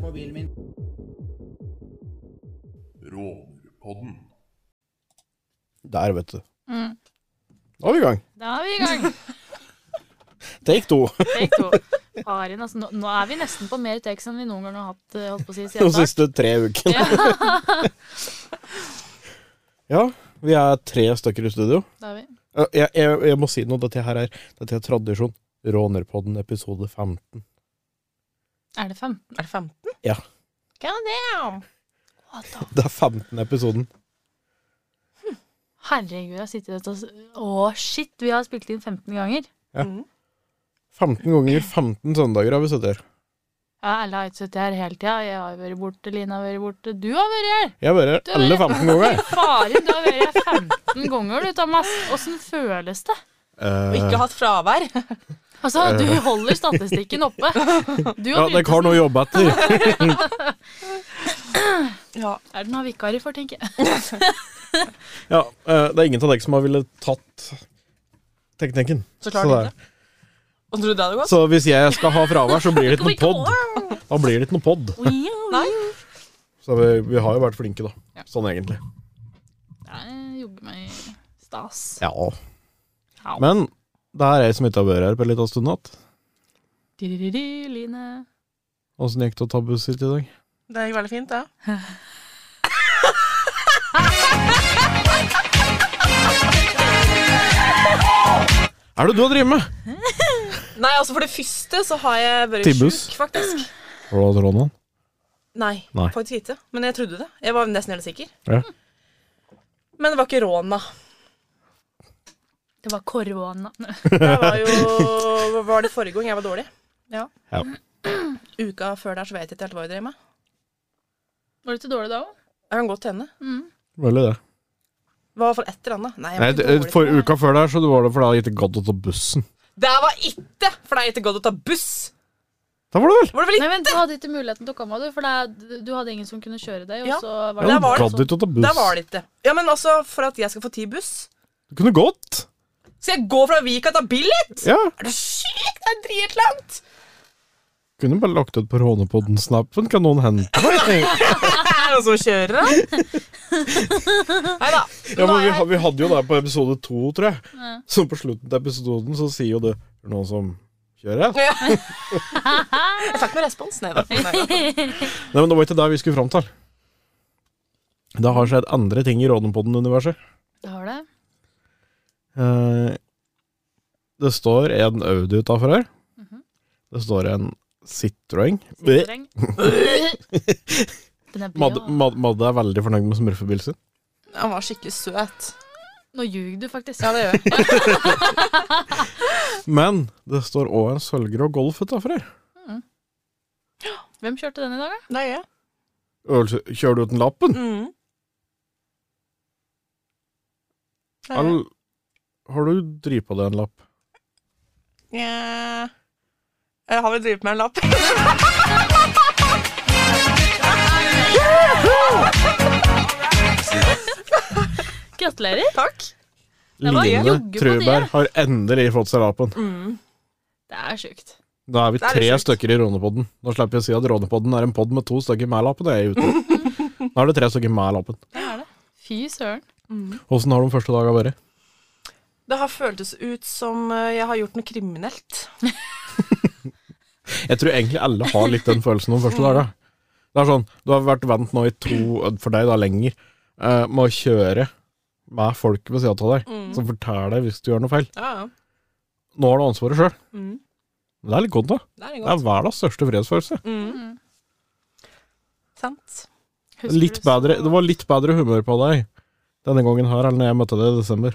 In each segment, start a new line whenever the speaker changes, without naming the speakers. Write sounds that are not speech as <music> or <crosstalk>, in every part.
mobilen min.
Rånerpodden.
Der, vet du.
Mm.
Nå er vi i gang.
Da er vi i gang.
Take to.
Take two. Farin, altså, nå, nå er vi nesten på mer takes enn vi noen gang har hatt eh, holdt på å si
De
siden start.
siste tre ukene.
Ja,
Ja, vi er tre stykker i studio.
da er vi.
Eh, Jeg, jeg, jeg må si noe. Dette her er, dette er tradisjon. Rånerpodden episode 15.
Er det fem?
Er det 15?
God damn! What the
Det er 15. episoden.
Herregud, jeg sitter i dette og s- Å, shit, vi har spilt inn 15 ganger.
Ja.
Mm.
15 ganger 15 søndager har vi sittet her.
Ja, Erle har ikke sittet her hele tida. Jeg har vært borte, Line har vært borte. Du har vært her!
Jeg har vært
Du
her alle
har
15
<laughs>
ganger.
Farin, du har vært her 15 ganger, du, Thomas. Åssen føles det?
Og ikke hatt fravær.
Altså, du holder statistikken oppe. Du
Eh, ja,
og
dere har
Brynesen.
noe å jobbe etter.
<laughs> Ja.
Er det noen vikarer for, tenker jeg.
Ja, eh, det er ingen av dere som har ville tatt teknikken.
Så klart
det er-
ikke. Og tror du det hadde gått?
Så hvis jeg skal ha fravær, så blir det ikke noe pod. Da blir det ikke noe pod.
Nei.
Så vi, vi har jo vært flinke, da. Sånn egentlig.
Det er jogge meg stas.
Ja.
Au.
Men det er ei som ikke har vært her på en liten stund igjen.
Tiririri, Line.
Åssen gikk det å ta buss hit i dag?
Det gikk veldig fint, det.
Er det du har drevet med?
Nei, altså for det første så har jeg vært
Tibbus.
sjuk,
<clears throat>
faktisk.
Har du hatt Ronan?
Nei,
Nei.
faktisk ikke. Men jeg trodde det. Jeg var nesten helt sikker.
Ja.
Men det var ikke
<laughs>
råna.
Det var korona.
Det var jo Var det forrige gang jeg var dårlig? Ja.
Ja.
<clears throat> Uka før der så vet jeg ikke helt hva jeg drev med.
Var du ikke dårlig da òg?
Jeg kan godt hende.
Mulig det.
Hva for et eller annet? Nei, jeg
Nei,
var ikke
d-
dårlig.
for uka før der så var det fordi jeg ikke gadd å ta bussen.
Det var ikke! For det er ikke godt å ta buss.
Da var det vel?
Var det vel
Nei, vent, du hadde ikke muligheten til å komme, du. For det, du hadde ingen som kunne kjøre deg. Og
Ja.
så
Ja,
var det,
Der
du
var det
gadd ikke å ta buss.
Der var det ikke. Ja, men altså, for at jeg skal få ti buss
Du kunne gått.
Så jeg går fra Vika til Billit?
Ja.
Er du syk? Det er dritlangt!
Kunne bare lagt ut på Rånepodden-snappen. Kan noen hente
<laughs>
meg?
Er det noen som <laughs> kjører, da? Nei da.
Ja, men vi, ha- vi hadde jo det på episode to, tror jeg. Så på slutten til episoden så sier jo det "Er det noen som kjører.
Ja. Jeg fikk noe respons. <laughs> Nei da. Nei,
Nei, men det var ikke det vi skulle fram til. Det har skjedd andre ting i Rånepodden-universet.
det var det.
Eh, det står en Audi utafor her.
Mhm.
Det står en Citroën. Eh, Bleh.
Sitreng. Den er
Madde,
blå.
Madde, Madde er veldig fornøyd med smurfebilen sin.
Han var skikkelig søt.
Nå ljug du faktisk.
Ja, det gjør jeg.
Men det står òg en sølvgrå Golf utafor her.
Hvem kjørte den i dag, da?
Det gjør jeg.
Øvelse- Kjører du uten lappen?
Mm. Det gjør jeg.
Al- har du drevet på deg en lapp?
Nja. Jeg Eh, har vel drevet med en lapp. <laughs>
Gratulerer.
Takk.
Det var
Line
jogge på
Truberg
det.
har endelig fått seg lappen.
Det er sjukt.
Da er vi
Mm. Det er
tre
litt sjukt.
stykker i Rånepodden. Nå slipper jeg å si at Rånepodden er en pod med to stykker med lappen. og jeg er
<laughs>
ute. Nå er det tre stykker med lappen.
Det er det. Fy søren.
Åssen har de første daga vært?
Det har føltes ut som eh, jeg har gjort noe kriminelt.
Jeg tror egentlig alle har litt den følelsen de første daga. Det er sånn, Du har vært vant nå i to, for deg da lenger, eh, med å kjøre med folk ved sida av deg som forteller deg hvis du gjør noe feil.
Mm. Ja, ja.
Nå har du ansvaret sjøl.
Mm.
Det er litt godt, da.
Det er
Det er
godt.
verdens største frihetsfølelse.
Mm. Sant.
Husker
Litt
du så-
bedre, det var litt bedre humør på deg denne gangen her enn når jeg møtte deg i desember.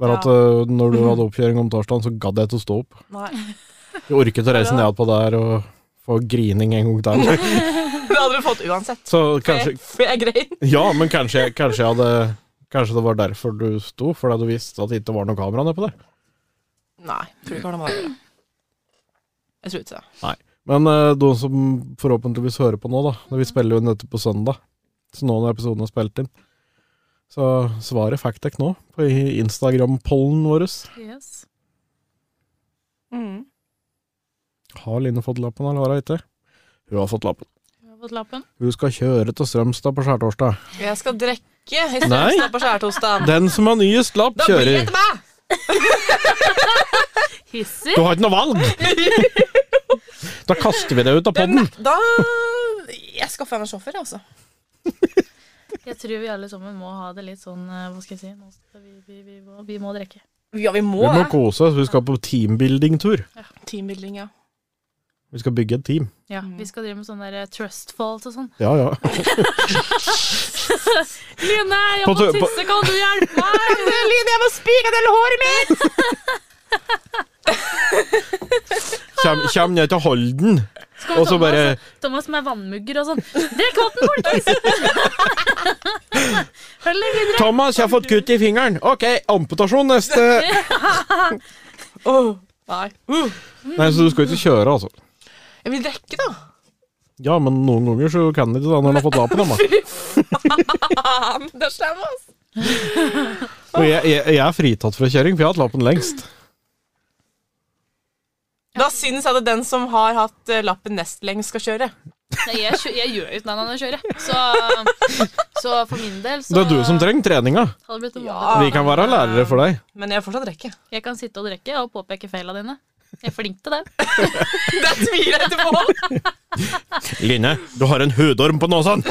Bare at øh, når du hadde oppkjøring om torsdagen, så gadd jeg ikke å stå opp.
Nei.
Jeg orket å reise ned på der og få grining en gang der.
<laughs>
<laughs> Det hadde du fått uansett.
Så kanskje
For jeg grein.
Ja, men kanskje, kanskje jeg hadde Kanskje det var derfor du sto, fordi du visste at det ikke var noe kamera nede på der.
Nei, tror ikke han hadde det. Jeg tror ikke det.
Men øh, de som forhåpentligvis hører på nå, da når Vi spiller jo nettopp på søndag, så nå når episoden er spilt inn. Så svaret fikk dere nå, på i Instagram-pollen vår.
Yes.
Mm.
Har Line fått lappen, eller har hun ikke? Hun har fått lappen.
fått lappen.
Hun skal kjøre til Strømstad på skjærtorsdag.
Jeg skal drikke i
Nei.
stedet på skjærtorsdag.
Den som har nyest lapp,
Da blir det
kjører.
til meg!
<laughs>
Hissig!
Du har ikke noe valg! Da kaster vi deg ut av podden.
Da Jeg skaffer meg en sjåfør, jeg, altså.
Jeg tror vi alle sammen må ha det litt sånn eh, Hva skal jeg si? Nå skal vi, vi, vi, må, vi må drikke.
Ja, vi må
Vi må
det.
kose oss. Vi skal på teambuilding-tur.
Teambuilding, <laughs> ja.
Vi skal bygge et team.
Ja, Vi skal drive med sånn der eh, trust falls og sånn.
Ja, ja.
Line, jeg
På
må
tu- på-
tisse, kan du hjelpe meg?
Line, jeg må spike hele håret mitt!
Kjem, kjem ned til Holden,
Skal
og så
Thomas-
bare
Thomas med vannmugger og sånn. Drikk vann, <laughs> folkens! Hold deg videre.
Thomas, jeg har fått kutt i fingeren. Ok, amputasjon neste.
Nei. Uh,
Nei, så du skal ikke kjøre, altså.
Jeg vil drikke, da.
Ja, men noen ganger så kan det ikke da, når han har fått lappen. da.
Faen, det er slem, ass.
Og jeg, jeg, jeg er fritatt fra kjøring, for jeg har hatt lappen lengst.
Da syns jeg at den som har hatt eh, lappen nest lengst, skal kjøre.
Nei, jeg, kjø- jeg gjør jo ikke noe annet enn å kjøre. Så, så for min del så
Det er du som trenger treninga.
hadde det blitt en
Ja.
vanlig
Vi kan være lærere for deg.
Men jeg vil fortsatt drikke.
dag. Jeg kan sitte og drikke og påpeke feila dine. Jeg er flink til det.
Det tviler jeg ikke <laughs> på.
Line, du har en hudorm på nåsen!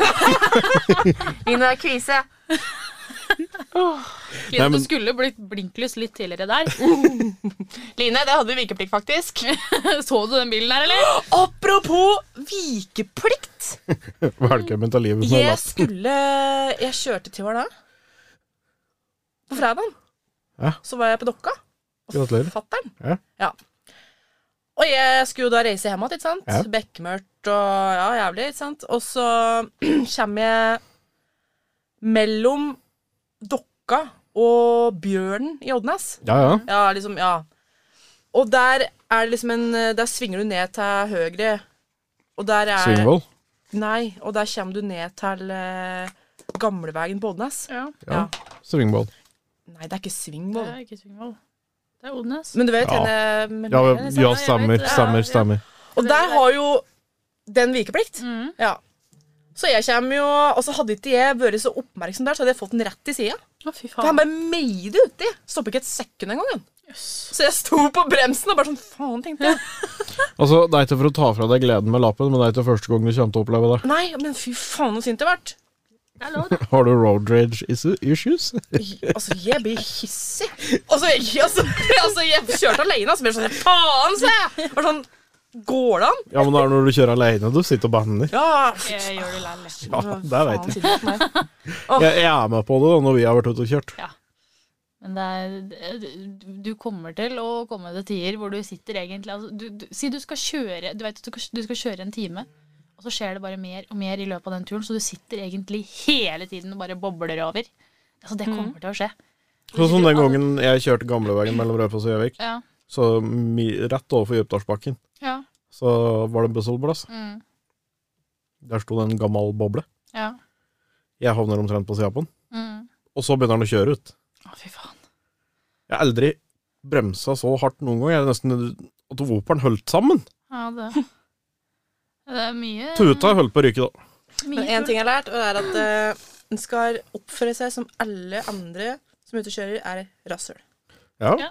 Line er kvise.
Line,
Nei, men-
Du skulle blitt blinklys litt tidligere der. <laughs>
Line, det hadde vi vikeplikt, faktisk.
Så du den bilen her, eller?
Apropos vikeplikt.
Velkommen til livet med
Jeg
lapp.
skulle Jeg kjørte til Hvaler. På fredagen.
Ja.
Så var jeg på Dokka. hos
Gratulerer.
Fatteren.
Ja.
Og jeg skulle jo da reise hjem igjen, ikke sant?
Ja.
Bekmørkt og ja, jævlig, ikke sant? Og så <clears throat> kommer jeg mellom Dokka og Bjørnen i Oddnes.
Ja, ja.
Ja, liksom, ja. Og der er det liksom en Der svinger du ned til høyre. Og der er
Svingvoll.
Nei, og der kommer du ned til eh, gamleveien på Oddnes.
Ja.
Ja. Svingvoll.
Nei, det er ikke
Det
Svingvoll.
er ikke Svingvoll. Det er Odnes.
Men du vet
Ja.
henne med
Ja,
med-
ja, stemmer, stemmer, stemmer.
Og der har jo den vikeplikt.
Mhm.
Ja. Så jeg kommer jo Og så hadde ikke jeg vært så oppmerksom der, så hadde jeg fått den rett i sida.
Å, fy
For han
faen.
bare meide uti. Stopper ikke et sekund engang. han.
Jøss.
Så jeg sto på bremsen og bare sånn Faen, tenkte
<laughs>
jeg.
Altså, Det er ikke for å ta fra deg gleden med lappen, men det er ikke første gang du kommer til å oppleve det.
Nei, men fy faen, så sint jeg ble.
Det er lov, det.
Har du road rage is- issues?
Altså, jeg blir hissig. Altså, jeg, altså, altså, jeg kjørte alene, altså, men sånn, faen, sa jeg! Bare sånn, går det an?
Ja, men det er når du kjører alene, du sitter og banner.
Ja,
Jeg gjør det lærlig.
Ja, det vet jeg.
jeg.
Jeg, jeg er med på det da, når vi har vært ute og kjørt.
Men det er, du- du kommer til å komme til tider hvor du sitter egentlig altså, du, du, Si du skal kjøre Du vet at du skal, du skal kjøre en time, og så skjer det bare mer og mer i løpet av den turen, så du sitter egentlig hele tiden og bare bobler over. Altså, det kommer til å skje.
Sånn som den gangen jeg kjørte gamleveien mellom Raufoss og Gjøvik,
Ja.
så mi, rett overfor Djupdalsbakken,
Ja.
så var det bussholdeplass.
Mm,
Der sto det en gammel boble.
ja.
Jeg havner omtrent på sida på den.
Mm.
Og så begynner den å kjøre ut.
Å, fy faen.
Jeg har aldri bremsa så hardt noen gang. Jeg er nesten at voperen holdt sammen.
Ja, <laughs> det Det er mye
Tuta holdt på å ryke da.
mye
Men en
tull.
ting jeg har lært, og det er at eh, en skal oppføre seg som alle andre som er ute og kjører, er rasshøl.
Ja.
Ja.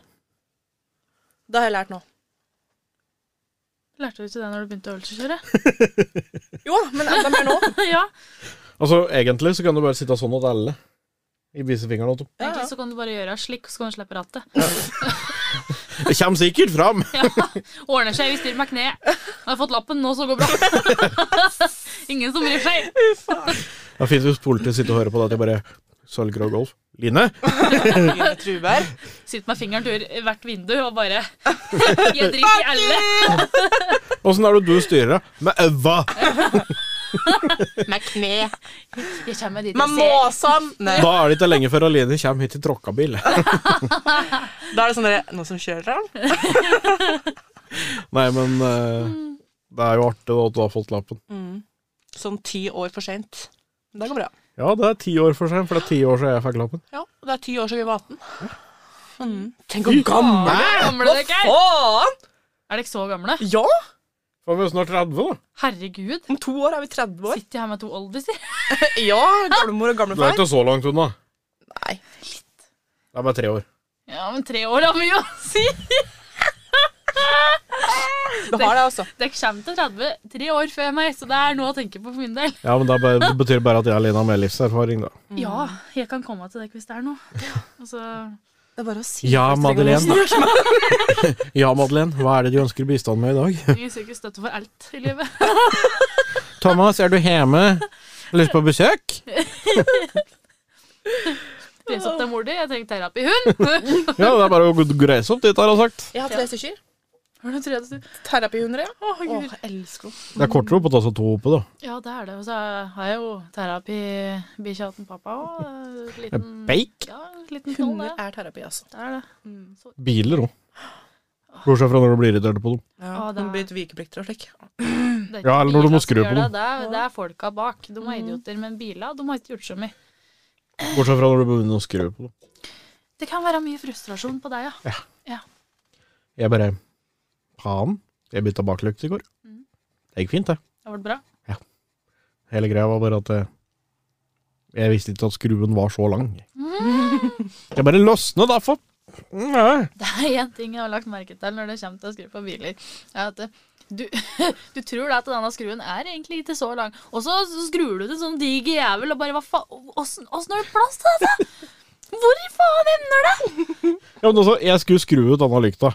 Det har jeg lært nå.
Lærte du ikke det når du begynte å øvelseskjøre?
<laughs> Jo, men enda mer nå.
ja.
Altså, egentlig så kan du bare sitte sånn at alle i visefingeren og
Ja, ja.
Egentlig så kan du bare gjøre slik, og så kan du slippe rattet.
Det kommer sikkert fram!
Ordner seg, vi styrer med kne. Jeg har fått lappen nå, så går det bra.
<laughs>
Ingen som bryr seg.
Det er fint hvis politiet sitter og hører på det at jeg bare sølger og golf. Line?
Line Trubær.
Sitter med fingeren til hvert vindu og
<laughs>
bare Jeg driter i alle.
Åssen er det du styrer det? Med øva!
Med kne.
Jeg kommer dit
Med
og ser.
måsam. Nei.
Da er det ikke lenge før Aline kommer hit i tråkkabil.
Da er det sånn dere Noen som kjører her?
Nei, men eh, det er jo artig da at du har fått lappen.
Sånn ti år for seint. Det går bra.
Ja, det er ti år for sent, for det er ti år siden jeg fikk lappen.
Ja, det er ti år siden vi var 18. Tenk hvor gammel
Gamle dere er.
faen!
Er dere så gamle?
Ja!
Så er vi jo snart 30, da.
Herregud.
Om to år er vi 30 år.
Sitter jeg her med to oldiser?
Ja, gamlemor og
Du er
gamlefar.
ikke så langt unna.
Nei.
Det er bare tre år.
Ja, men tre år har mye å si.
Du har det, altså.
Dere kommer til 30 tre år før meg, så det er noe å tenke på for min del.
Ja, men det, er bare, det betyr bare at jeg er alene med livserfaring, da.
Mm.
Ja, jeg kan komme til dere hvis det er noe. Altså,
Det er bare å si
Ja,
hvis du trenger å
Madeleine. <laughs> Ja, Madeleine, hva er det du ønsker bistand med i dag?
jeg søker støtte for alt i livet.
Thomas, er du hjemme? Lyst på besøk?
Prins opp til mor di, jeg trenger terapihund.
Ja, det er bare å greise opp dit, har han sagt.
Jeg har tre stykker.
Har du tre til?
Terapihunder, ja.
Å,
Åh,
gud.
jeg elsker henne.
Det er kortere opp å ta seg to oppe, da.
Ja, det er det. Og så har jeg jo terapibikkja til pappa òg. Liten
Bake?
Ja, liten knoll,
Hunder
det.
er terapi, altså.
Det er det.
Mm. Biler òg. Bortsett fra når du blir irritert på dem.
Ja,
Å, det er-
Hun blir et vikeplikter og slik.
Det
Ja,
er ikke
eller når du
biler
må
som
skru
gjør
på Mm.
det. Det er, det er folka bak. De er idioter. Men biler, de har ikke gjort så mye.
Bortsett fra når du begynner å skru på dem.
Det kan være mye frustrasjon på deg, ja.
Jeg bare Faen. Jeg bytta baklykt i går.
Mhm.
Det gikk fint, det.
Det ble bra. <laughs>
Hele greia var bare at eh, jeg visste ikke at skruen var så lang. Jeg bare løsna derfor. Nei.
Det er én ting jeg har lagt merke til når det kommer til å skru på biler. Er at eh, du, <laughs> du tror da at denne skruen er egentlig ikke så lang, og så skrur du til en sånn diger jævel og bare Hva faen? Åssen åssen har du plass til dette?
<laughs>
Hvor i faen emner det?
Ja, men altså, jeg skulle skru ut denne lykta,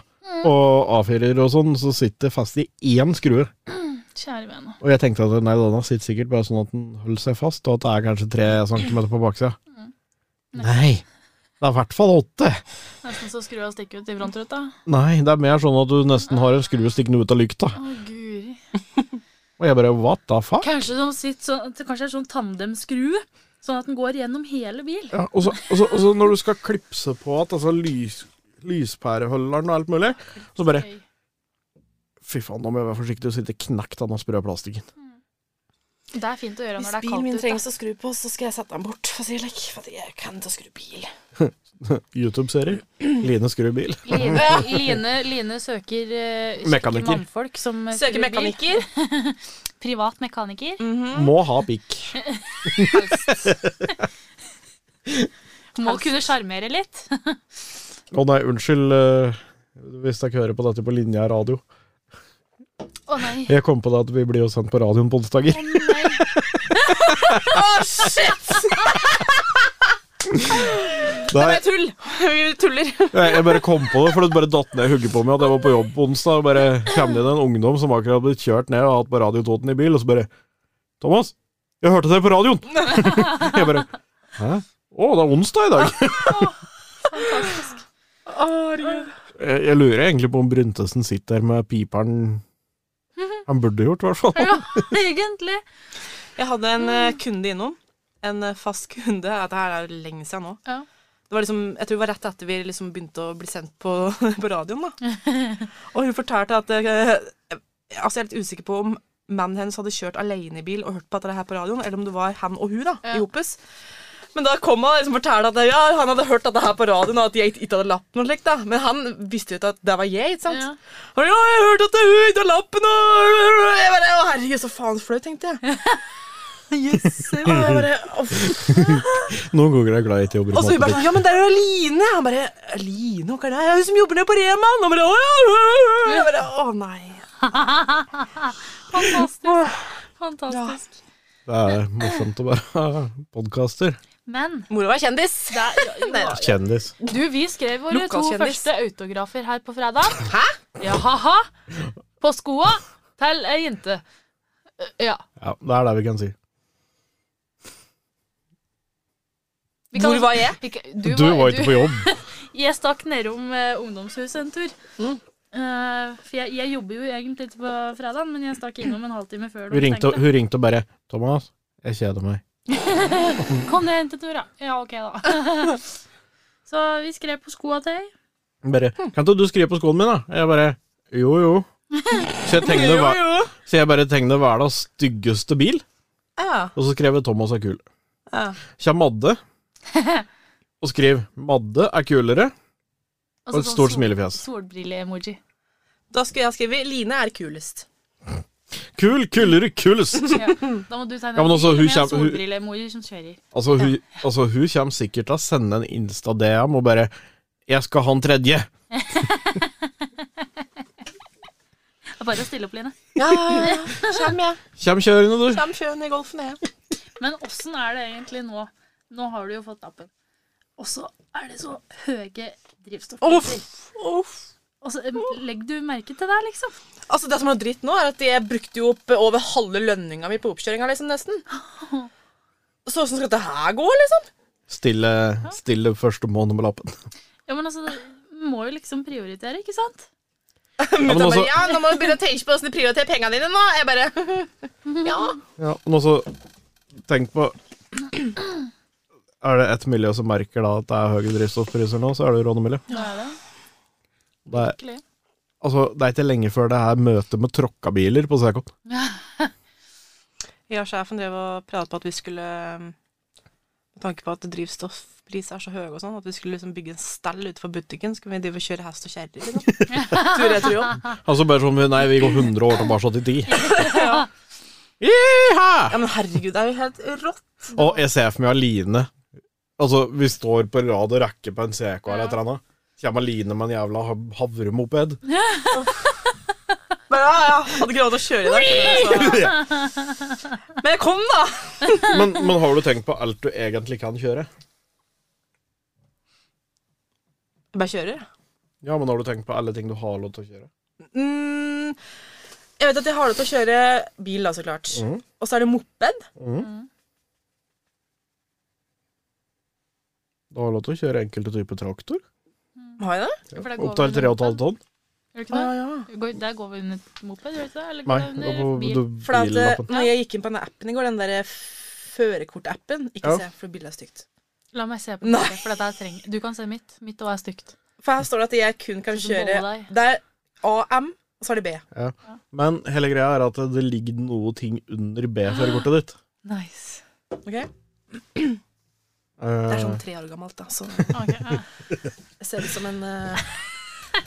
og A4-er og sånn, så sitter det fast i én skrue.
Kjære vene.
Og jeg tenkte at nei, denne sitter sikkert bare sånn at den holder seg fast, og at det er kanskje tre centimeter på baksida. Nei. Det er i hvert fall åtte.
Nesten så skrua stikker ut i frontruta.
Nei, det er mer sånn at du nesten har en skrue stikkende ut av lykta.
Å, guri.
Og jeg bare what the fuck?
Kanskje de sitter sånn Kanskje det er sånn tandemskrue? Sånn at den går gjennom hele bil.
Ja, og, så, og, så, og så når du skal klipse på at altså lys, lyspæreholderen og alt mulig, så bare
Oi.
fy faen, nå må jeg være forsiktig og sitte knekt av den sprø plastikken.
Det er fint å gjøre når
Hvis
det er
bilen
kaldt
min
ute.
trengs å skru på, så skal jeg sette den bort. For jeg, like, for jeg kan ikke skru bil.
YouTube-serie. Line skrur bil. <laughs>
Line, Line, Line søker, eh, søker
Mekaniker.
mannfolk som eh,
Søker
skrur bil.
mekaniker.
<laughs> Privat mekaniker.
Må ha pikk.
Må kunne sjarmere litt.
Å nei, unnskyld eh, hvis dere hører på dette på linja radio.
Å nei.
Jeg kom på det at vi blir jo sendt på radioen på onsdager.
Å nei.
<laughs>
Det
Nei,
er tull! Vi tuller.
jeg jeg bare kom på det, for det bare datt ned i hugget på meg at jeg var på jobb på onsdag. Og bare kom det inn en ungdom som akkurat hadde blitt kjørt ned og hatt på radiototen i bil, og så bare Thomas, jeg hørte deg på
<laughs>
radioen! jeg bare Hæ? Å, det er onsdag i dag!
Fantastisk.
Jeg, jeg lurer egentlig på om Bryntesen sitter der med piperen han burde gjort, i hvert fall.
Ja, <laughs> egentlig.
Jeg hadde en eh, kunde innom. En eh, fast kunde. Dette her er jo lenge siden nå.
Ja.
Det var liksom, jeg tror det var rett etter vi liksom begynte å bli sendt på, <laughs> på radioen. da. Og hun fortalte at eh, altså Jeg er litt usikker på om mannen hennes hadde kjørt alene i bil og hørt på dette her på radioen, eller om det var han og hun da, i hoppes. Men da kom han og liksom fortalte at ja, han hadde hørt dette her på radioen, og at jeg ikke hadde lappen. og slikt da. Men han visste jo ikke at det var jeg. ikke sant?
Ja.
Og ja, jeg hørte at det er hun ikke har lappen, og jeg bare, å herregud, så faen flaut, tenkte jeg. Jøsse, og jeg bare, uff.
Noen ganger er jeg glad i ikke å
Og så
bruke
hun bare sånn, ja, men det er jo Line. Han bare, Line, hva er det? Ja, Hun som jobber nede på Rema. Og bare, å, ja, ja, ja. Jeg bare, å nei.
Fantastisk. Fantastisk.
Det er morsomt å være <laughs> podkaster.
Men
Mora var kjendis.
det er,
<laughs> Nei,
Kjendis.
du, vi skrev våre to
Lokalkjendis.
første autografer her på fredag. Hæ? Ja, ha-ha. På skoa til ei jente. Ja.
Ja, det er det vi kan si.
Vi kan-
Hvor var jeg?
Vi kan-
Du var ikke på jobb.
Jeg stakk nedom eh, ungdomshuset en tur.
Mm.
Eh, for jeg, jeg jobber jo egentlig ikke på fredagen, men jeg stakk innom en halvtime før. de
Hun ringte,
stengte.
hun ringte og bare 'Thomas, jeg kjeder meg'.
Kom ned og hent et ord, da. <laughs> Ja, ok, da. Så vi skrev på skoa til ei.
Hun bare 'Kan ikke du skrive på skolen min', da? Jeg bare 'Jo, jo'. Så jeg tegner, hver-
jo.
så jeg bare tegner hverdags styggeste bil,
Ja,
og så skrev jeg 'Thomas er kul'.
ja.
Kjem Madde og skriv 'Madde er kulere' og et stort smilefjes.
<laughs>
Solbrille-emoji.
Da skulle jeg skrive, Line er kulest.
Kul, kulere, kulest!
Ja. Da må du tegne
Ja, men altså,
en
hun
bil med en
kjem- hun-
solbrillemor som kjører.
Altså, hun, altså, hun kommer sikkert til å sende en Insta-DM og bare 'Jeg skal ha en tredje'.
Det er bare å stille opp, Line.
Ja, ja, <laughs> ja. Kjem, jeg.
Kjem kjørende, du.
Kjem sjøen i golfen, jeg.
Men åssen er det egentlig nå? Nå har du jo fått nappen. Og så er det så høye drivstoffpriser.
Uff.
Og så, em, legger du merke til det, liksom?
Altså, det som er dritt nå, er at jeg brukte jo opp over halve lønninga mi på oppkjøringa, liksom, <laughs> nesten. Så åssen skal dette her gå, liksom?
Stille, stille første måned
<laughs>
med lappen.
Ja, men altså, du må jo liksom prioritere, ikke sant?
men
Mutta
også-
bare, ja, nå må du begynne å tenke på åssen du prioriterer pengene dine nå. Jeg bare <laughs> Ja.
Ja, men også Tenk på Er det ett miljø som merker da at det er høye drivstoffpriser nå, så er det rånemiljøet.
Nå er det
Det, er-
virkelig.
altså, det er ikke lenge før det er møte med tråkkabiler på Sekon.
Jeg og sjefen drev og pratet på at vi skulle Med tanke på at drivstoffpriser er så høye og sånn, at vi skulle liksom bygge en stell utenfor butikken. Skulle vi drive og kjøre hest og kjerre, <laughs> liksom? Tur etter jobb.
Altså bare sånn Nei, vi går 100 år tilbake i tid.
<laughs> Ja.
Jiha!
ja, men herregud, det er jo helt rått.
Og jeg ser for meg Aline. Altså, vi står på rad og rekke på en CK eller et eller annet. Kommer Aline med en jævla hav- havremoped.
Bare, ja, ja, hadde ikke råd til å kjøre i
<laughs>
dag. Så. <laughs> Men jeg kom, da!
Men, men har du tenkt på alt du egentlig kan kjøre?
Jeg bare kjører, jeg.
Ja, men har du tenkt på alle ting du har lov til å kjøre?
Mm, jeg vet at jeg har lov til å kjøre bil, da, så klart.
Mhm.
Og så er det moped.
Du har lov til å kjøre enkelte typer traktor.
Har jeg det?
For det går
Opptil
vel
3,5
under-
tonn.
Gjør det
Å,
ikke det?
ja, ja.
Går, der går vi under moped, gjør det ikke det? Eller
Nei,
går det
det
under
var
bil?
du,
eh, For at, eh,
billappen.
når jeg gikk inn på den appen i går, den derre førerkortappen Ikke
Ja.
se, for bildet er stygt.
La meg se på
Nei.
det, for dette her trenger Du kan se mitt. Mitt òg er stygt.
For her står det at jeg kun kan
Så du
kjøre
måler deg.
Det er AM, og så er det B.
Men hele greia er at det ligger noe ting under
Ah,
B-førerkortet ditt.
Nice.
ok? Det
Eh,
er sånn tre år gammelt, da, så
Ok, ja.
jeg ser ut som en eh,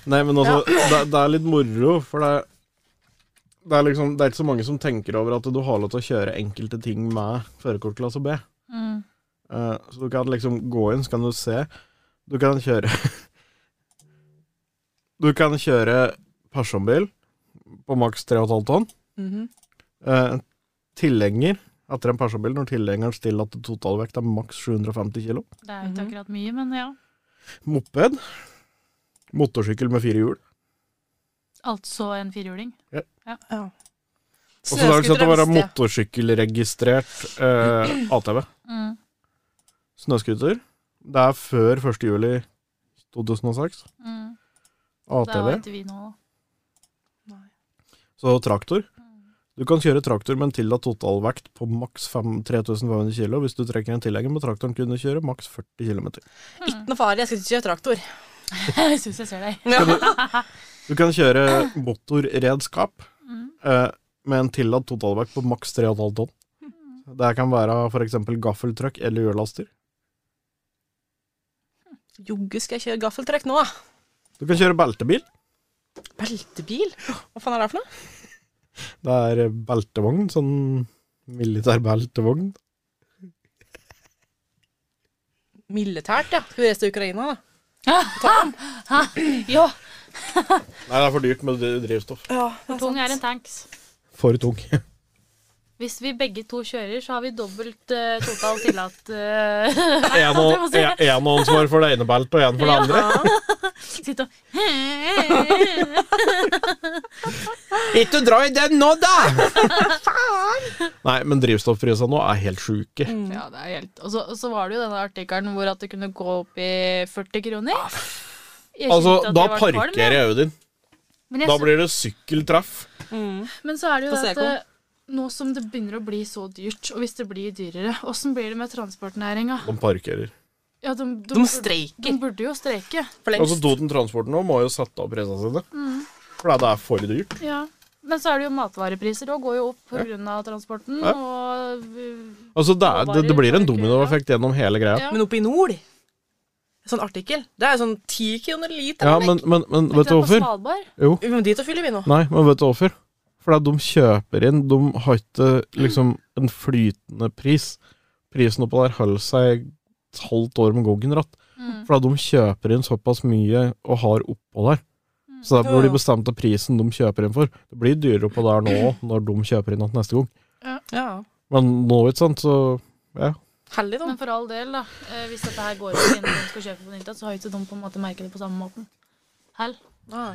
Nei, men altså, det, det er litt moro, for det, det, er liksom, det er ikke så mange som tenker over at du har lov til å kjøre enkelte ting med førerkortklasse B.
Mm.
Eh, så du kan liksom gå inn, så kan du se. Du kan kjøre <laughs> Du kan kjøre personbil på maks 3,5 tonn.
<laughs> mhm.
Eh, tilhenger etter en personbil når tilhengeren stiller at totalvekt er maks 750 kg.
Det er jo ikke akkurat mye, men ja.
Moped. Motorsykkel med fire hjul.
Altså en firehjuling.
ja.
Og så har det sett å være
visste jeg.
motorsykkelregistrert eh, ATV.
Mm.
Snøscooter. Det er før 1. juli 2006.
Mm. Det
ATV.
har ikke vi nå. da.
Så traktor. Du kan kjøre traktor med en tillatt totalvekt på maks fem- 3500 kg. Hvis du trekker en tilhenger med traktoren, kunne du kjøre maks 40 km.
Ikke noe farlig, jeg skal ikke kjøre traktor.
<laughs> Jeg syns jeg ser deg.
<laughs>
Du kan kjøre motorredskap
Mm.
eh, med en tillatt totalvekt på maks 3,5 tonn. Det kan være f.eks. gaffeltruck eller hjullaster.
Jogge skal jeg kjøre gaffeltrekk nå, da.
Du kan kjøre beltebil.
Beltebil? Hva faen er det for noe?
Det er beltevogn, sånn militær beltevogn.
Militært, ja. Skal vi reise til Ukraina, da?
Ja,
Nei, det er for dyrt med dri- drivstoff.
Ja, sånn.
for tung er en tanks.
For tung.
Hvis vi begge to kjører, så har vi dobbelt uh, total tillatt uh,
En og en- en og ansvar for det ene beltet, og en for det andre.
<laughs> Sitt og <laughs>
Ikke dra i den nå,
<laughs>
da! Nei, men drivstoffprisene nå er helt sjuke.
Ja, det er helt Og så, og så var det jo denne artikkelen hvor at det kunne gå opp i 40 kroner. Jeg
Altså,
kjente at
da
jeg var kvalm,
parkerer
jeg.
jeg Audien.
Men, jeg
Da blir det sykkeltreff.
så- men så er det jo
Få
det
se,
at
kom.
eh, nå som det begynner å bli så dyrt, og hvis det blir dyrere, åssen blir det med transportnæringa?
De parkerer.
Ja, de, de,
De
burde, de
streiker
burde jo streike.
for lengst.
Altså, Toten Transporten nå må jo sette opp prisene sine.
Mm.
For det er for dyrt.
Ja. Men så er det jo matvarepriser òg, går jo opp pga. transporten.
Ja.
Og eh,
Altså, det, er, det, det blir en dominoeffekt gjennom hele greia.
Ja.
Men oppe i nord Sånn artikkel. Det er jo sånn ti kroner literen.
Ja, men, men, men vet du
på
hvorfor?
Svalbard
Vi må dit og fylle, vi nå.
Nei, men vet du hvorfor? For at de kjøper inn De har ikke liksom en flytende pris. Prisen oppå der holder seg et halvt år med Goggenratt.
Mm.
For at de kjøper inn såpass mye og har oppå der.
Mm.
Så derfor blir de bestemt av prisen de kjøper inn for. Det blir dyrere oppå der nå når de kjøper inn igjen neste gang.
Ja.
Men nå, ikke sant, så ja.
Heldig, da.
Men for all del, da. Eh, hvis dette her går over innen de skal kjøpe på Nintas, så har jo ikke de på en måte merket det på samme måten. Hell.
Ja.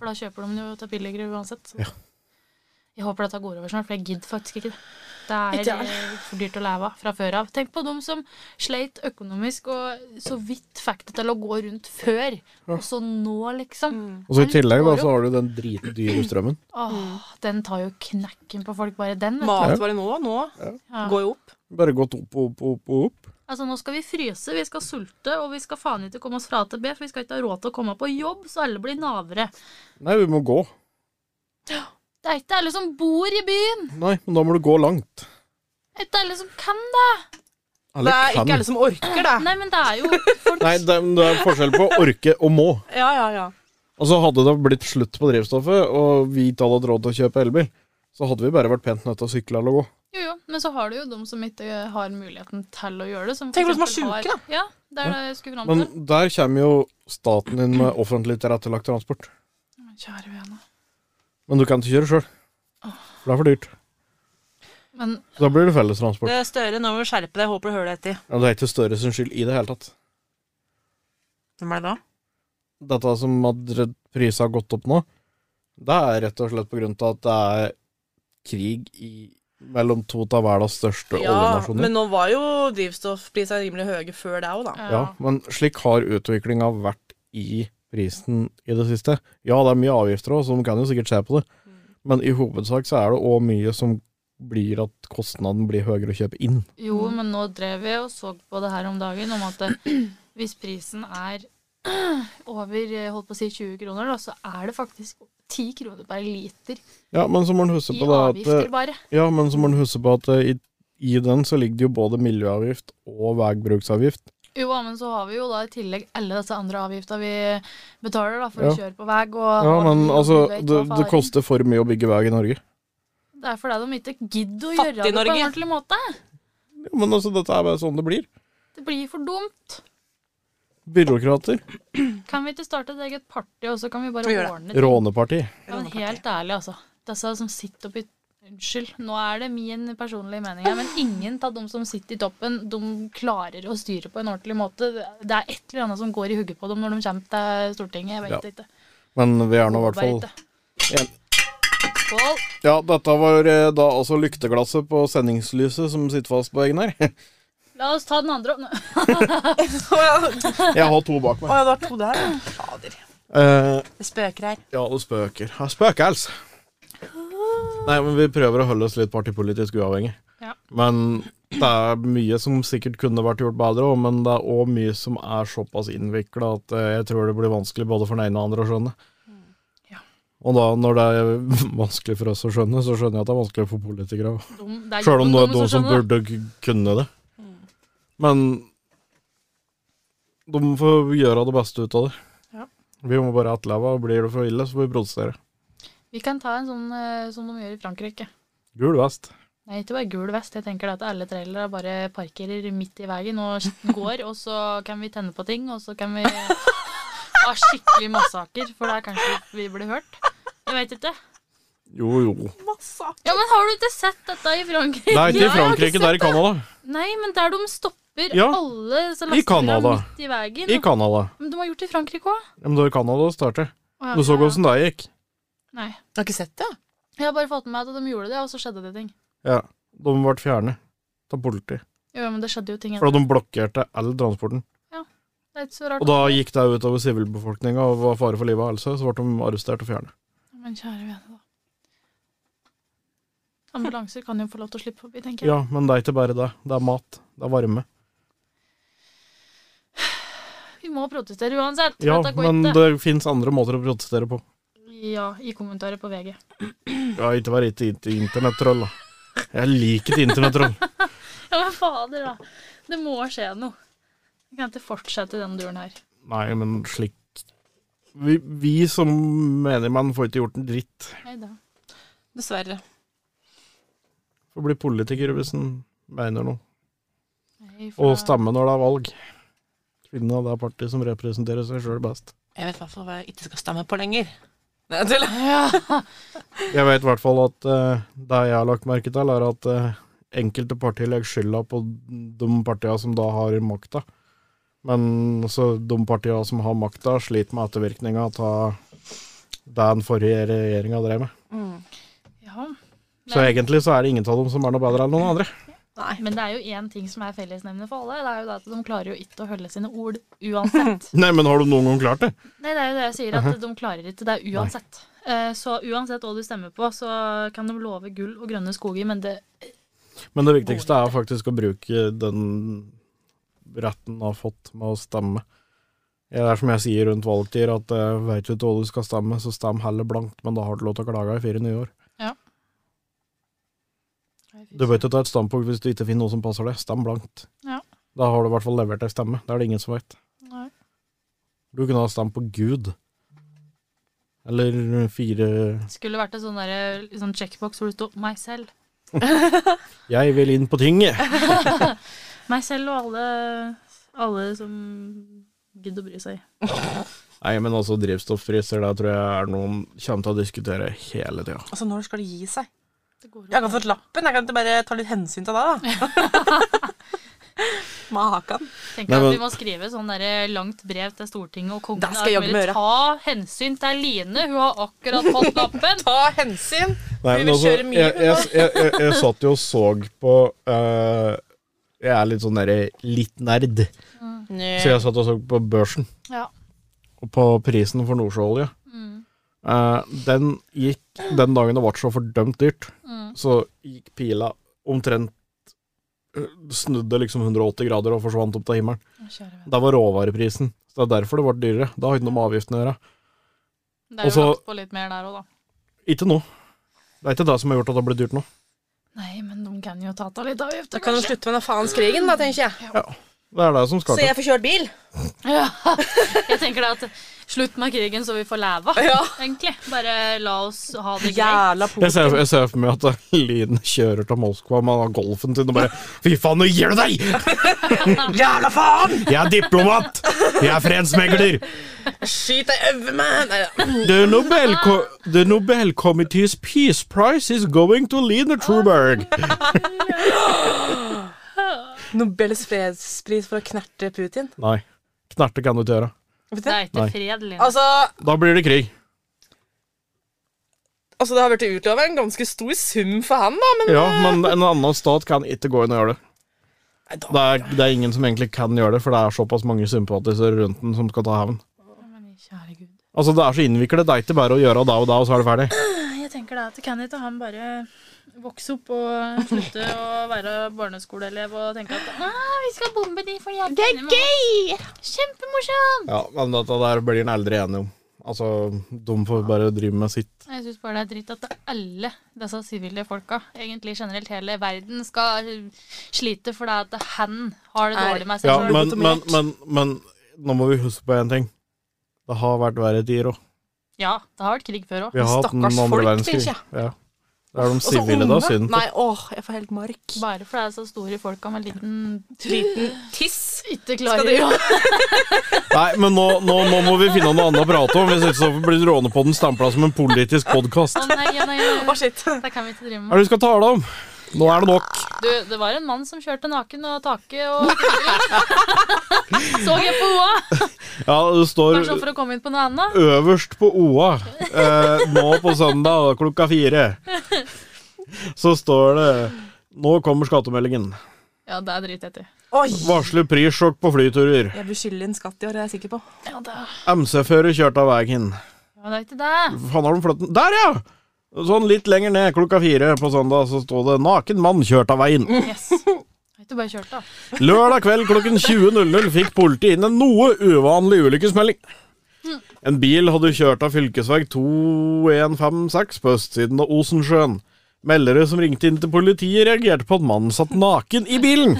For da kjøper de den jo til billigere uansett. så. Jeg håper dette går over snart, for jeg gidder faktisk ikke det. Det
Ikke
er
jeg.
eh, for dyrt å leve av fra før av. Tenk på dem som sleit økonomisk og så vidt fikk det til å gå rundt før, og så nå, liksom.
Mm.
Og så i
Det er litt
tillegg da,
dårlig.
så har du den dritdyre strømmen.
Åh, den tar jo knekken på folk, bare den. Vet
Matvarer nå, nå
du. Ja.
går jo opp.
Bare gått opp og opp og opp. og opp.
Altså, nå skal vi fryse, vi skal sulte, og vi skal faen ikke komme oss fra A til B, for vi skal ikke ha råd til å komme på jobb, så alle blir navere.
Nei, vi må gå.
Det er ikke alle som bor i byen.
Nei, men da må du gå langt.
Det er ikke alle som kan det.
Det er ikke alle som orker det.
Nei, men det er
<laughs>
jo folk
Nei, det, det er forskjell på orke og må.
Ja, ja, ja.
Altså Hadde det blitt slutt på drivstoffet, og vi ikke hadde hatt råd til å kjøpe elbil, så hadde vi bare vært pent nødt til å sykle eller gå.
Jo, jo, men så har du jo de som ikke har muligheten til å gjøre det. Som
Tenk på de som er
eksempel
syke, da.
Ja, det er det jeg skulle fram
Men
til.
der kommer jo staten inn med offentlig tilrettelagt transport.
Kjære vene.
Men du kan ikke kjøre sjøl. For det er for dyrt.
Men
Så da blir det fellestransport.
Det er Støre, nå må du skjerpe deg. Jeg Håper du hører det etter.
Ja, det er ikke Støre sin skyld i det hele tatt.
Hvem er det da?
Dette som at prisene har gått opp nå, det er rett og slett på grunn av at det er krig i mellom to av verdens største
Ja,
oljenasjoner.
men nå var jo drivstoffprisene rimelig høye før det òg, da.
ja.
Ja, men slik har utviklinga vært i prisen i det siste. Ja, det er mye avgifter òg, så de kan jo sikkert se på det.
Mm.
Men i hovedsak så er det òg mye som blir at kostnaden blir høyere å kjøpe inn.
Jo, men nå drev jeg og så på det her om dagen, om at eh, hvis prisen er <clears throat> over eh, holdt på å si 20 kroner, da, så er det faktisk 10 kroner per liter
Ja, men så må en huske
i
på det at eh,
avgifter, bare.
Ja, men så må en huske på at eh, i, i den så ligger det jo både miljøavgift og vegbruksavgift.
Jo, ja, men så har vi jo da i tillegg alle disse andre avgifter vi betaler da, for
Ja.
å kjøre på vei. Og,
Ja,
og
men
bil, og
altså,
bygge,
det,
og
det
faen.
koster for mye å bygge vei i Norge.
Det er fordi de ikke gidder å
Fattig
gjøre det på en
Norge.
ordentlig måte.
Ja, men altså, dette er bare sånn det blir.
Det blir for dumt.
Byråkrater.
Kan vi ikke starte et eget party, og så kan vi bare
Vi gjør det.
ordne ting?
Råneparti.
Ja, men helt ærlig, altså. Disse som sitter oppi Unnskyld, nå er det min personlige mening her, men ingen av de som sitter i toppen, de klarer å styre på en ordentlig måte. Det er et eller annet som går i hugget på dem når de kommer til Stortinget. Jeg
Ja.
vet ikke.
Men vi er nå i hvert fall
Håper jeg ikke. Skål.
Ja, dette var eh, da altså lykteglasset på sendingslyset som sitter fast på veggen her. <laughs>
La oss ta den andre opp. Nå-
<laughs>
<laughs>
Å ja,
Jeg har to bak
Å
meg.
ja, det var to der. ja. Fader.
Eh,
Det spøker her.
ja, det spøker. Ja, spøkels! Nei, men vi prøver å holde oss litt partipolitisk uavhengig.
Ja.
Men det er mye som sikkert kunne vært gjort bedre òg, men det er òg mye som er såpass innvikla at eh, jeg tror det blir vanskelig både for den ene og den andre å skjønne.
Mm, Ja.
Og da, når det er <laughs> vanskelig for oss å skjønne, så skjønner jeg at det er vanskelig for politikere òg.
De, det er
Sjøl om det er noen
jobben deres å
som
skjønne det.
burde k- kunne det. Men de får gjøre det beste ut av det.
Ja.
Vi må bare etterleve, og blir det for ille, så får vi protestere.
Vi kan ta en sånn eh, som de gjør i Frankrike.
Gul vest.
Nei, ikke bare gul vest. Jeg tenker det at alle trailere bare parkerer midt i veien og <laughs> går, og så kan vi tenne på ting, og så kan vi ha skikkelig massaker, for da kanskje vi blir hørt. Jeg vet ikke.
Jo, jo.
Massa.
Ja, men har du ikke sett dette i Frankrike?
Det er ikke
Ja,
i
jeg har
Frankrike,
ikke
det er i
sett
Canada.
Nei, men der de stopper
Ja,
alle disse
i Canada.
lastebilene midt i veien.
I Canada.
Men de har gjort det i Frankrike òg.
Ja, Men det var i Canada det startet.
Ah,
Du så åssen det gikk.
Nei.
Jeg har ikke sett det.
Jeg har bare fått med meg at de gjorde det, og så skjedde det ting.
Ja. De ble fjernet av politiet.
Jo, men det skjedde jo ting.
Fordi de blokkerte all transporten.
Det er ikke så rart.
Og da gikk det utover sivilbefolkninga og var fare for livet og helse, så ble de arrestert og fjernet.
Men kjære vene, da. Ambulanser kan jo få lov til å slippe forbi, tenker jeg.
Ja, men det er ikke bare det. Det er mat. Det er varme.
Vi må protestere uansett.
Ja,
Dette går
men
ikke.
det fins andre måter å protestere på.
Ja, i kommentarer på VG.
Ja, ikke vær ikke ikke internettroll, da. Jeg liker ikke internettroll.
Ja, men fader, da. Det må skje noe. Vi kan ikke fortsette i denne duren her.
Nei, men slik vi, vi som menigmann får ikke gjort en dritt.
Nei da.
Dessverre.
Får bli politiker hvis en mener noe.
Nei, for
Og
da-
stemme når det er valg. Kvinnen av det partiet som representerer seg sjøl best.
Jeg vet i hvert fall hva jeg ikke skal stemme på lenger. Nei, jeg tuller.
Jeg vet i hvert fall at eh, det jeg har lagt merke til, er at eh, enkelte partier legger skylda på de partiene som da har makta. Men så de partiene som har makta, sliter med ettervirkninga av det den forrige regjeringa drev med.
Mm.
Ja.
Så
Nei.
egentlig så er det ingen av dem som er noe bedre enn noen andre.
Men det er jo én ting som er fellesnevner for alle. Det er jo det at de klarer jo ikke å holde sine ord uansett.
<laughs> Nei, men har du noen gang klart det?
Nei, det er jo det jeg sier,
Uh-huh.
at de klarer ikke det er uansett. Eh, Så uansett hva du stemmer på, så kan de love gull og grønne skoger, men det
Men det viktigste er faktisk å bruke den retten du har fått med å stemme. Det er som jeg sier rundt valgtider, at uh, veit du ikke hva du skal stemme, så stem heller blankt, men da har du lov til å klage i fire nye år. Du bør ikke ta et standpunkt hvis du ikke finner noe som passer deg. Stem blankt.
Ja.
Da har du i hvert fall levert ei stemme. Det er det ingen som veit.
Nei.
Du kunne ha stemt på Gud. Eller fire
Skulle vært en sånn der, sånn checkbox hvor det står 'meg selv'.
Jeg vil inn på tinget!
<laughs> Meg selv og alle, alle som gidder å bry seg.
Nei, men altså drivstoffpriser, det tror jeg er noen kommer til å diskutere hele tida.
Altså, når skal det gi seg?
Det går jo
Jeg har ikke fått lappen. Jeg kan ikke bare ta litt hensyn til deg, da. <laughs> Makan.
Tenker
Nei,
at
men-
vi må skrive sånn der langt brev til Stortinget og kongen.
Det skal jeg
at
jaggu
vi
gjøre.
Ta hensyn til Line, hun har akkurat fått lappen.
Ta hensyn!
Nei,
Vi
men
vil
altså,
kjøre
jeg,
mye,
jeg, jeg, jeg, jeg satt jo og så på eh, Jeg er litt sånn derre litt nerd, så jeg satt og så på børsen.
<laughs> Ja.
Og på prisen for nordsjøolje.
Mm,
Eh, den gikk den dagen det ble så fordømt dyrt,
mm.
så gikk pila omtrent eh, Snudde liksom 180 grader og forsvant opp til himmelen.
Kjære venn.
Det var råvareprisen. Så det er derfor det ble dyrere. Det har ikke noe med avgiften å gjøre.
Det er jo
Også-
lagt på litt mer der òg, da.
Ikke nå. Det er ikke det som har gjort at det har blitt dyrt nå.
Nei, men de kan jo ta av litt avgift.
Da kan du slutte med den faens krigen, da, tenker jeg.
Det er det som skal
Så
til.
jeg får kjørt bil.
<laughs> Ja. Jeg tenker da at slutt med krigen, så vi får leve,
Ja.
egentlig. Bare la oss ha det
<laughs>
greit.
Jævla
Jeg ser,
Putin.
jeg ser for meg at eh, Lyn kjører til Moskva med den golfen sin og bare Fy faen, nå gir du deg!
Jævla faen!
Jeg er diplomat! Jeg er fredsmegler! <laughs>
Skyt deg over meg! Nei, da.
The Nobel, Co- the Nobel Committee's Peace Prize is going to Line Truberg.
Nobels fredspris for å knerte Putin.
Nei. Knerte kan du ikke gjøre.
Vet du?
Det er ikke
Nei.
fred, Line.
Altså,
Da blir det krig.
altså, det har blitt utlova en ganske stor sum for han, da, men
Ja, <laughs> men en annen stat kan ikke gå inn og gjøre det.
Nei, da-
Det er, det er ingen som egentlig kan gjøre det, for det er såpass mange sympatisere rundt den som skal ta hevn.
Men kjære Gud.
Altså, det er så innviklet. Det er ikke bare å gjøre da og da, og så er det ferdig.
Jeg tenker da at kan ikke han bare vokse opp og slutte å være barneskoleelev og tenke at ah, vi skal bombe de for de er gøy! Kjempemorsomt!
Ja, men dette der blir en aldri enig om. Altså, de får bare drive med sitt.
Jeg syns bare det er dritt at alle disse sivile folka, egentlig generelt hele verden, skal slite fordi at han har det
Er-
dårlig med seg
Ja,
selv.
men, men, men, men nå må vi huske på én ting. Det har vært verre tider òg.
Ja, det har vært krig før òg.
Vi har hatt den
Stakkars
andre
folk,
verdenskrig.
synes jeg.
Ja. Det er de
Og så
sivile da
unge.
synd på.
Nei, åh, jeg får helt mark.
Bare fordi det er så store folka med liten <laughs>
Liten tiss.
Ikke
Skal
klarer
du-
å
<laughs> Nei, men nå, nå, nå må vi finne noe annet å prate om, hvis ikke så blir Rånepodden stampla som en politisk podkast.
Å nei, ja, nei, ja,
Å,
ja.
shit.
Det kan vi ikke
Hva er
drive med.
det vi skal tale om? Nå er det nok.
Du, det var en mann som kjørte naken og taket og <laughs> Så jeg på OA!
Ja, det står
Bare sånn for å komme inn på noe annet.
øverst på OA eh, nå på søndag klokka fire. Så står det Nå kommer skattemeldingen.
Ja, det er drit etter.
<laughs> Oi!
Varsler prissjokk på flyturer.
Jeg blir skyldig en skatt i år, jeg er <laughs> sikker på.
Ja, det er,
MC-fører kjørte av veien.
ja, det er ikke det.
Faen, har de flyttet den? Der, ja! Sånn litt lenger ned, klokka fire på søndag, så står det 'Naken mann kjørt av veien'.
Yes. Jeg har ikke bare kjørt, da.
Lørdag kveld klokken 20.00 fikk politiet inn en noe uvanlig ulykkesmelding. En bil hadde kjørt av fylkesveg 2156 på østsiden av Osensjøen. Meldere som ringte inn til politiet, reagerte på at mannen satt naken i bilen.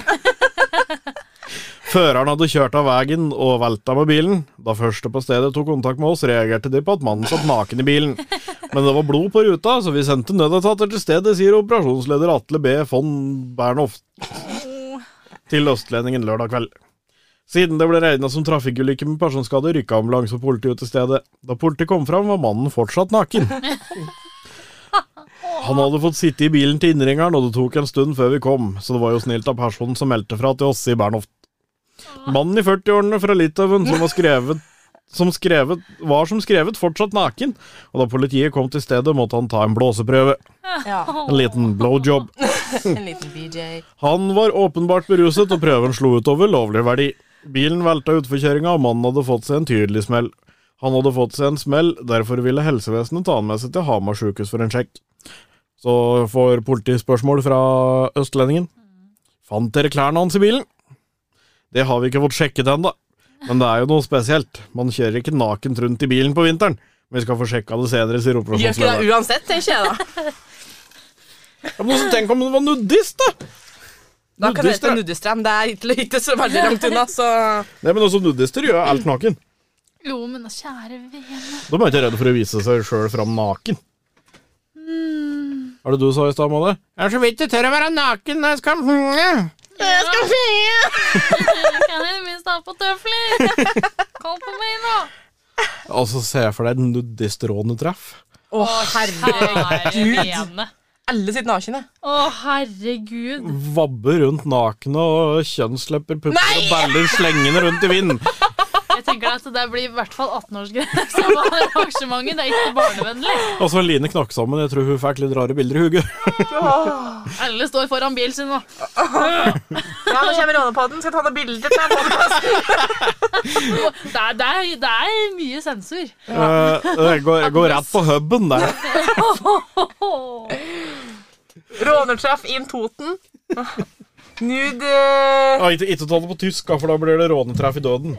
Føreren hadde kjørt av veien og velta med bilen. Da første på stedet tok kontakt med oss, reagerte de på at mannen satt naken i bilen. Men det var blod på ruta, så vi sendte nødetater til stedet, sier operasjonsleder Atle B. von Bernhoft til Østlendingen lørdag kveld. Siden det ble regna som trafikkulykke med personskade, rykka ambulanse og politi ut til stedet. Da politiet kom fram, var mannen fortsatt naken. Han hadde fått sitte i bilen til innringeren, og det tok en stund før vi kom, så det var jo snilt av personen som meldte fra til oss i Bernhoft. Mannen i 40-årene fra Litauen som var skrevet som skrevet, var som skrevet fortsatt naken, og da politiet kom til stedet, måtte han ta en blåseprøve.
Ja,
En liten blowjob.
en liten BJ.
Han var åpenbart beruset, og prøven slo utover lovlig verdi. Bilen velta utforkjøringa, og mannen hadde fått seg en tydelig smell. Han hadde fått seg en smell, derfor ville helsevesenet ta han med seg til Hamar sjukehus for en sjekk. Så får politiet spørsmål fra østlendingen. Fant dere klærne hans i bilen? Det har vi ikke fått sjekket ennå, men det er jo noe spesielt. Man kjører ikke nakent rundt i bilen på vinteren. Vi skal få sjekka det senere, sier
Gjør ikke det
operasjonslederen.
uansett, tenker jeg da.
Ja, men også Tenk om det var nudist, da!
Da kan det
Nudister
hete
er-
Nudestrand. Det er ikke, ikke så veldig langt unna, så <laughs>
Nei, men også nudister gjør alt naken.
Jo, men da, kjære vene.
Da var jeg ikke redd for å vise seg sjøl fram naken. Er det du sa i stad, Molly? Hmm. Jeg er så vidt jeg tør å være naken når jeg skal
Jeg skal fie! kan jeg minst ha på tøfler? Kom på meg nå!
<laughs> Altså, se for deg et nudistrånetreff.
Å, herregud.
vene.
Alle sitter nakne.
Å, herregud.
Vabbe rundt nakne og kjønnslepper, pupper og baller slengende rundt i vinden.
Jeg tenker at det blir i hvert fall 18-årsgrense på arrangementet. Det er ikke barnevennlig.
Og så Line knakk sammen. Jeg tror hun fikk litt rare bilder i <laughs> huget.
Alle står foran bilen sin nå.
Ja, nå kommer Rånepodden. Skal ta noen bilder til den <laughs> podkasten.
Det er, det er, det er mye sensor.
Eh, Jeg går, jeg går rett på huben der.
Rånertreff inn Toten. Nude
Ja, Ikke ikke ta det på tysk, da, for da blir det rånetreff i døden.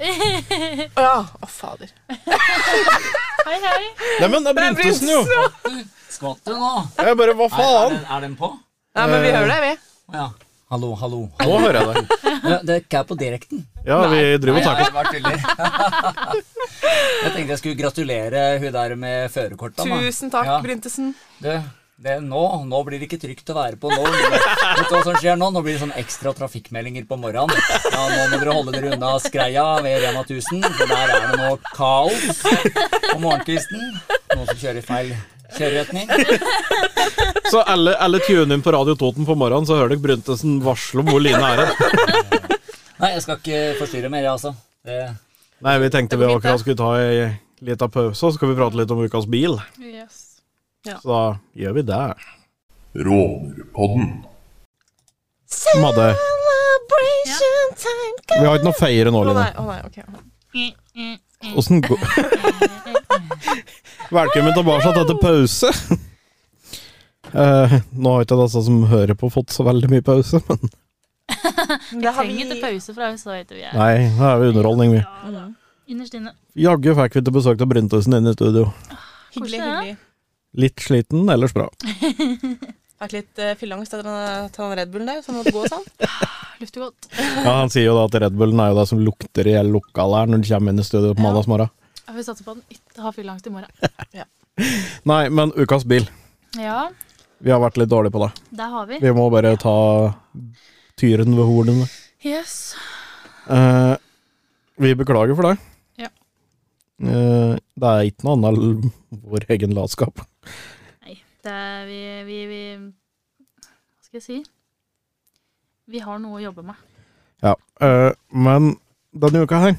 Ja, å fader.
Hei, hei.
Neimen, det er Brintesen, jo!
Skvatt du nå?
Jeg bare, hva
Er, er,
faen?
den, er den på?
Nei, men vi hører det, vi.
Å Ja. Hallo, hallo.
Nå hører jeg deg.
Det, det er ikke er på direkten.
Ja, vi driver og
Nei,
taco.
jeg, bare tuller. <laughs> jeg tenkte jeg skulle gratulere hun der med førerkortet. da.
Tusen takk,
Ja.
Brintesen.
Du, det, nå, nå blir det ikke trygt å være på nå. Vet du hva som skjer nå? Nå blir det sånn ekstra trafikkmeldinger på morgenen. Ja, nå må dere holde dere unna skreia ved Rema 1000, for der er det nå kaos på morgenkvisten. Noen som kjører i feil kjøreretning.
Så alle, alle tuner inn på Radio Toten på morgenen, så hører dere Bryntesen varsle om hvor Line er hen.
Nei, jeg skal ikke forstyrre mer, jeg, altså. Det,
Nei, vi tenkte vi akkurat skulle ta ei lita pause, og så skal vi prate litt om ukas bil.
Yes.
Så da gjør vi det.
Rånerpodden.
Madde,
Celebration time
vi har ikke noe feire nå,
Å
Line.
nei, å nei, ok.
Åssen går <laughs> Velkommen tilbake etter pause. <laughs> Eh, nå har ikke disse som hører på, fått så veldig mye pause, men
Det har
Trenger ikke
vi
pause fra oss, da vet vi. er.
nei, det er jo underholdning, vi.
Ja, da. Innerst inne.
Jaggu fikk vi til besøk av Bryntesen inne i studio.
hyggelig.
Koselig, ja.
hyggelig.
Litt sliten, ellers bra.
Fikk litt uh, fylleangst etter den, til den Red Bullen der, så måtte gå <laughs> sånn.
Lukter godt.
Ja, Han sier jo da at Red Bullen er jo det som lukter i hele lokalet her når du kommer inn i studio på
Ja.
mandagsmorgen.
Jeg vil satse på at den ikke har fylleangst i morgen.
Nei, men ukas bil.
Ja,
Vi har vært litt dårlige på det.
der har vi.
Vi må bare ta tyren ved hornene.
Yes.
Eh, vi beklager for det.
Ja.
Eh, det er ikke noe annet enn vår egen latskap.
Nei, det er vi, vi, vi Hva skal jeg si? Vi har noe å jobbe med.
Ja. eh, men denne uka her,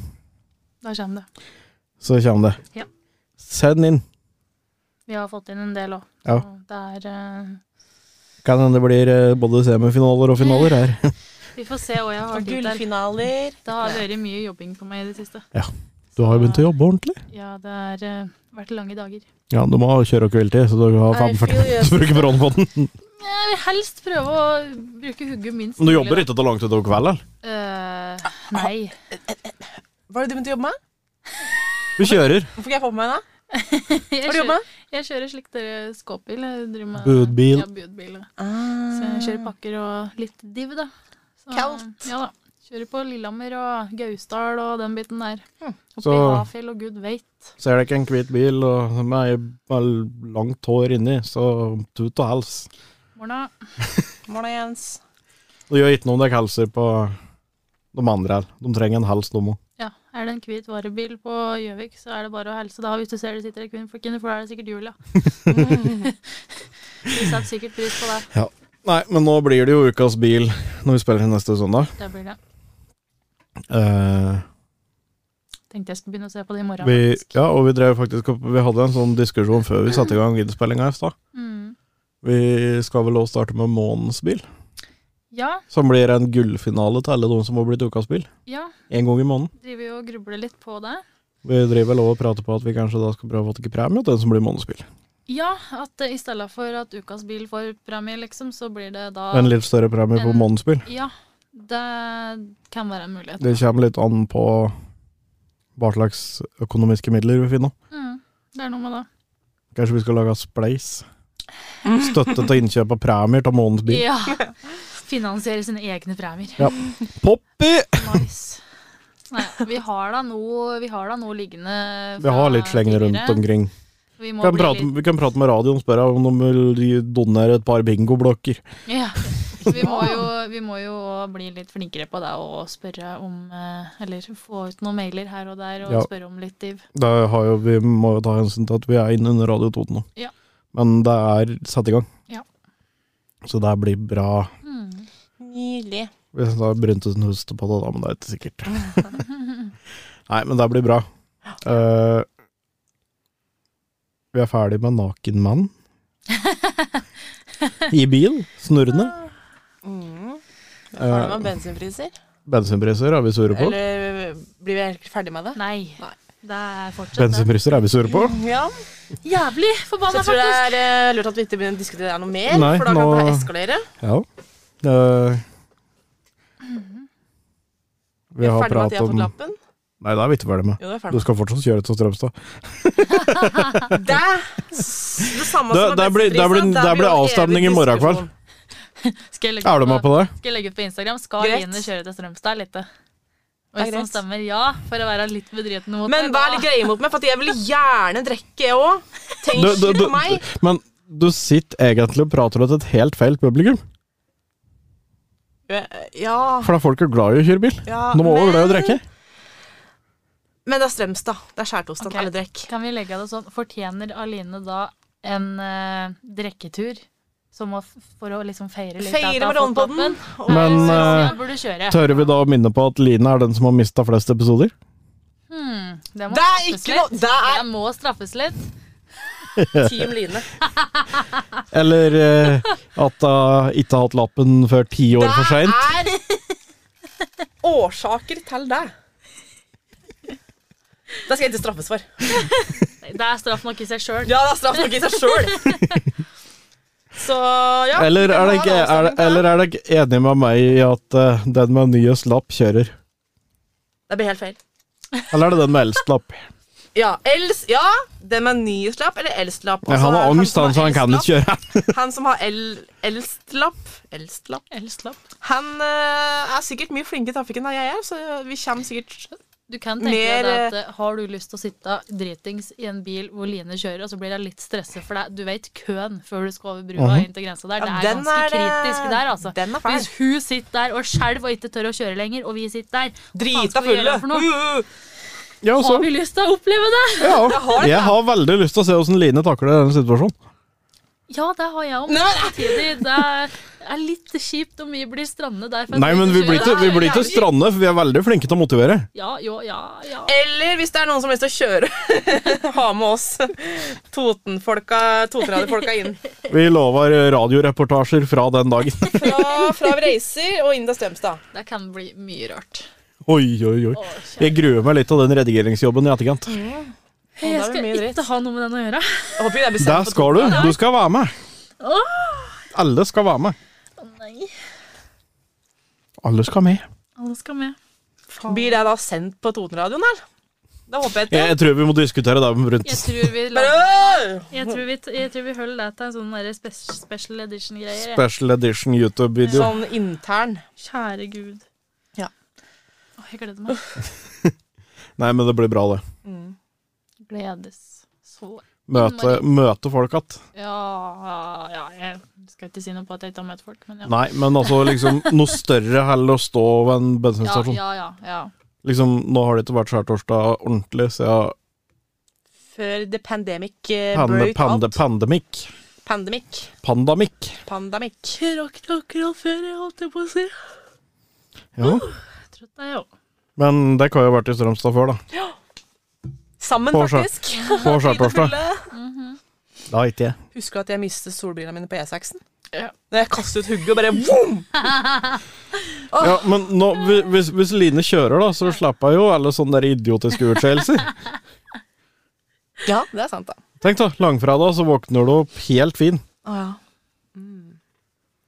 Da kommer det.
så kommer det.
Ja.
Send inn.
Vi har fått inn en del òg.
Ja.
Det er eh,
Kan hende det blir eh, både semifinaler og finaler her.
<laughs> Vi får se hva jeg har
Og
tid til.
gullfinaler.
Det har vært mye jobbing på meg i det siste.
Du har jo begynt å jobbe ordentlig.
Ja, det har eh, vært lange dager.
Ja, du må ha kjøre- og hviletid, <laughs> så du har
I
45
feel you.
minutter å bruke på Rånepodden.
Jeg vil helst prøve å bruke hugget minst
Men du jobber ikke til langt utover kvelden? eller?
Eh, nei.
Hva har du begynt å jobbe med?
Du kjører.
Hvorfor kan jeg få på meg en da?
Jeg
Hva har du jobbet med?
Jeg kjører slik dere skåpbil. Jeg driver med-
Budbil.
Ja, budbil. Så jeg kjører pakker og litt div, da. Så,
Ah. Kaldt.
Ja da. Kjører på Lillehammer og Gausdal og den biten der. Oppi
Så-
Hafjell og gud veit.
Ser dere en hvit bil og med ei- med langt hår inni, så tut og hils.
Morna.
Morna, Jens.
Det gjør ikke noe om dere hilser på de andre her. De trenger en hils, de òg.
Ja, er det en hvit varebil på Gjøvik, så er det bare å helse da hvis du ser det sitter ei kvinne, for for da er det sikkert
<laughs>
Julia. <laughs> Vi setter sikkert pris på det.
Nei, men nå blir det jo ukas bil når vi spiller inn neste søndag.
Det blir det.
Eh,
Tenkte jeg skulle begynne å se på det i morgen.
vi,
faktisk.
ja, og vi drev faktisk opp Vi hadde en sånn diskusjon før vi satte i gang innspillinga i stad.
Mm.
Vi skal vel også starte med månens bil,
ja,
som blir en gullfinale til alle de som har blitt ukas bil.
ja.
Én gang i måneden.
Driver jo og grubler litt på det.
Vi driver vel også og prater på at vi kanskje da skal prøve å få til premie til den som blir månens bil.
Ja, at eh, i stedet for at ukas bil får premie, liksom, så blir det da
En litt større premie på
En-
månens bil.
Ja, det kan være en mulighet.
Det kommer litt an på hva slags økonomiske midler vi finner.
Mm, det er noe med det.
Kanskje vi skal lage spleis? Støtte til innkjøp av premier til månedens bil.
Mm. Ja. Finansiere sine egne premier.
Poppy!
Nice. Nei, vi har da noe, vi har da noe liggende
Vi har litt slenger rundt omkring.
Vi
Vi
må
kan
bli
prate, vi kan prate med radioen og spørre om de vil gi- donere et par bingoblokker.
litt, ja. vi, må jo, vi må jo bli litt flinkere på det og spørre om eh, Eller få ut noen mailer her og der og
Ja.
spørre om litt div.
Da har jo, vi må jo ta hensyn til at vi er inne under Radio Toten nå.
Ja.
Men det er satt i gang.
Ja.
Så det blir bra.
Mm.
Nydelig.
Hvis da Bryntesen husker på det, da, men det er ikke sikkert. <laughs> Nei, men det blir bra. Eh, vi er ferdig med naken <laughs> mann. I bil, snurrende.
Mm. Har du
Eh,
med bensinpriser?
bensinpriser er vi sure på.
Eller eh, blir vi helt ferdig med det?
Nei.
Nei.
Det er fortsatt det.
Bensinpriser er vi sure på.
Ja.
Jævlig
Så
forbanna,
jeg tror det
faktisk.
er eh, lurt at vi ikke begynner å diskutere det her noe mer,
Nei,
for da kan
nå-
det eskalere.
Ja. Eh, vi
Vi er
har
ferdig med at
prat
jeg har
om
fått
Nei,
lappen.
det er vi ikke ferdig
Jo,
med.
det er
Du
ferdig.
skal fortsatt kjøre til Strømstad.
med. Det er s- det samme
Det-
som
det blir- det blir-
bensinprisen,
det blir
jo en
avstemning i
evig
morgen kveld.
diskusjon.
Skal jeg legge
Er du
ut
med
på,
på det?
skal jeg legge ut på Instagram? Skal
Greit.
Line kjøre til Strømstad litt? da? Og
Det er
hvis han
greit.
stemmer ja, for å være litt bedriten mot
Men hva
deg, da-
er litt greie mot meg? For at jeg vil gjerne drikke, jeg òg. Tenk
Du, du,
ikke
du,
på meg.
men du sitter egentlig og prater til et helt feil publikum.
Ja,
For da er folk jo glad i å kjøre bil.
ja
De er også glad i å
men-
drikke.
Men det er Strømstad. Det er skjærtorsdag.
Ok.
Eller drekk.
Kan vi legge det sånn? Fortjener Aline da en eh, drikketur? Som å, f- for å liksom feire litt? at
Feire med
hun har fått
Rånepodden.
lappen?
Og
Men,
Jeg synes
eh,
jeg burde kjøre.
Tør vi da å minne på at Line er den som har mista flest episoder?
Hmm, det
Det er
må straffes
ikke noe-
litt.
det er-
Det må straffes litt.
Team Line.
Eller eh, at hun ikke har hatt lappen før ti år for seint?
Det er årsaker til det. Det skal jeg ikke straffes for.
Det er straff nok i seg sjøl.
Ja, det er straff nok i seg sjøl. <laughs> Så ja.
Eller
vi kan
er
ha
det ikke,
en
er,
avstemning
det-
på det.
eller er det ikke enig med meg i at eh, den med nyest lapp kjører?
Det blir helt feil.
Eller er det den med eldst lapp?
Ja, els, ja, den med nyest lapp eller eldst lapp.
Nei, han har
<laughs> Altså,
angst,
som
han, så han kan
eldst
ikke kjøre.
<laughs> lapp- Han som har el, eldst lapp Eldst lapp
Elslapp.
Han eh, er sikkert mye flinkere i trafikken enn jeg er, så vi kommer sikkert
Du kan tenke
Mer,
deg det at eh, har du lyst til å sitte dritings i en bil hvor Line kjører, og så blir det litt stresset for deg. Du vet køen før du skal over brua
Mhm.
inn til grensa der.
Ja,
det er
den
ganske
er, eh,
kritisk der, altså.
den er fæl.
Hvis hun sitter der og skjelver og ikke tør å kjøre lenger, og vi sitter der hva faen
drita
skal vi
fulle.
gjøre for noe?
Uh, uh.
Ja, og så,
Har vi lyst til å oppleve det?
ja, jeg har veldig lyst til å se åssen Line takler denne situasjonen.
Ja, det har jeg òg.
Nei,
Men
men-
samtidig, det er- er litt kjipt om vi blir strandet der. for at
Nei, men vi blir ikke,
kjører.
vi blir ikke strande, for vi er veldig flinke til å motivere.
Ja, jo, ja, ja.
Eller hvis det er noen som har lyst til å kjøre, <laughs> ha med oss Totenfolka, Totenradiofolka inn.
Vi lover radioreportasjer fra den dagen.
<laughs>
Fra, fra vi reiser og inn til Strømstad.
Det kan bli mye rart.
Oi, oi, oi.
Å, kjære.
Jeg gruer meg litt av den redigeringsjobben i etterkant.
det er
Jeg
jo
skal
mye dritt.
ikke ha noe med den å gjøre.
Jeg Håper vi er bestemt
Der
på
skal du. Du skal være med. Alle skal være med.
Nei,
Alle skal med.
alle skal med.
Toten. Blir det da sendt på Totenradioen, eller? Da håper jeg
Jeg,
ikke.
jeg tror vi må diskutere det med
Jeg
Brunt.
tror vi
Bare, øh!
Jeg tror vi, jeg tror vi holder det til en sånn der spes special edition-greier. jeg. Sånn.
Special edition YouTube-video.
Sånn intern.
Kjære gud.
Ja.
Åh, Jeg gleder
<laughs>
meg.
Nei, men det blir bra, det.
Mm.
Gledes. Så
Møte, møte folk att.
Ja, ja Jeg skal ikke si noe på at jeg ikke har møtt folk, men ja.
Nei, men altså liksom noe større heller å stå ved en
ja,
bensinstasjon.
ja, ja, ja.
Liksom, nå har det ikke vært skjærtorsdag ordentlig siden
Før the pandemic eh,
pande,
broke
pande,
out.
pandemic.
Pandemic.
Pandamic.
Pandemic.
Jeg rakk det akkurat før jeg holdt det på å si.
Ja.
Trøtt er jeg òg.
Men det kan jo ha vært i Strømstad før, da.
Sammen,
På skjær-
faktisk.
På skjærtorsdag. Da ikke jeg.
Husker du at jeg mistet solbrillene mine på E6-en?
Ja.
Når jeg kastet hugget og bare boom!
Ja, men nå, hvi- hvis, hvis Line kjører, da, så slipper jeg jo alle sånne der idiotiske
<laughs>
utskeielser.
Ja, det er sant, da.
Tenk da, langfredag så våkner du opp helt fin.
Å, ja.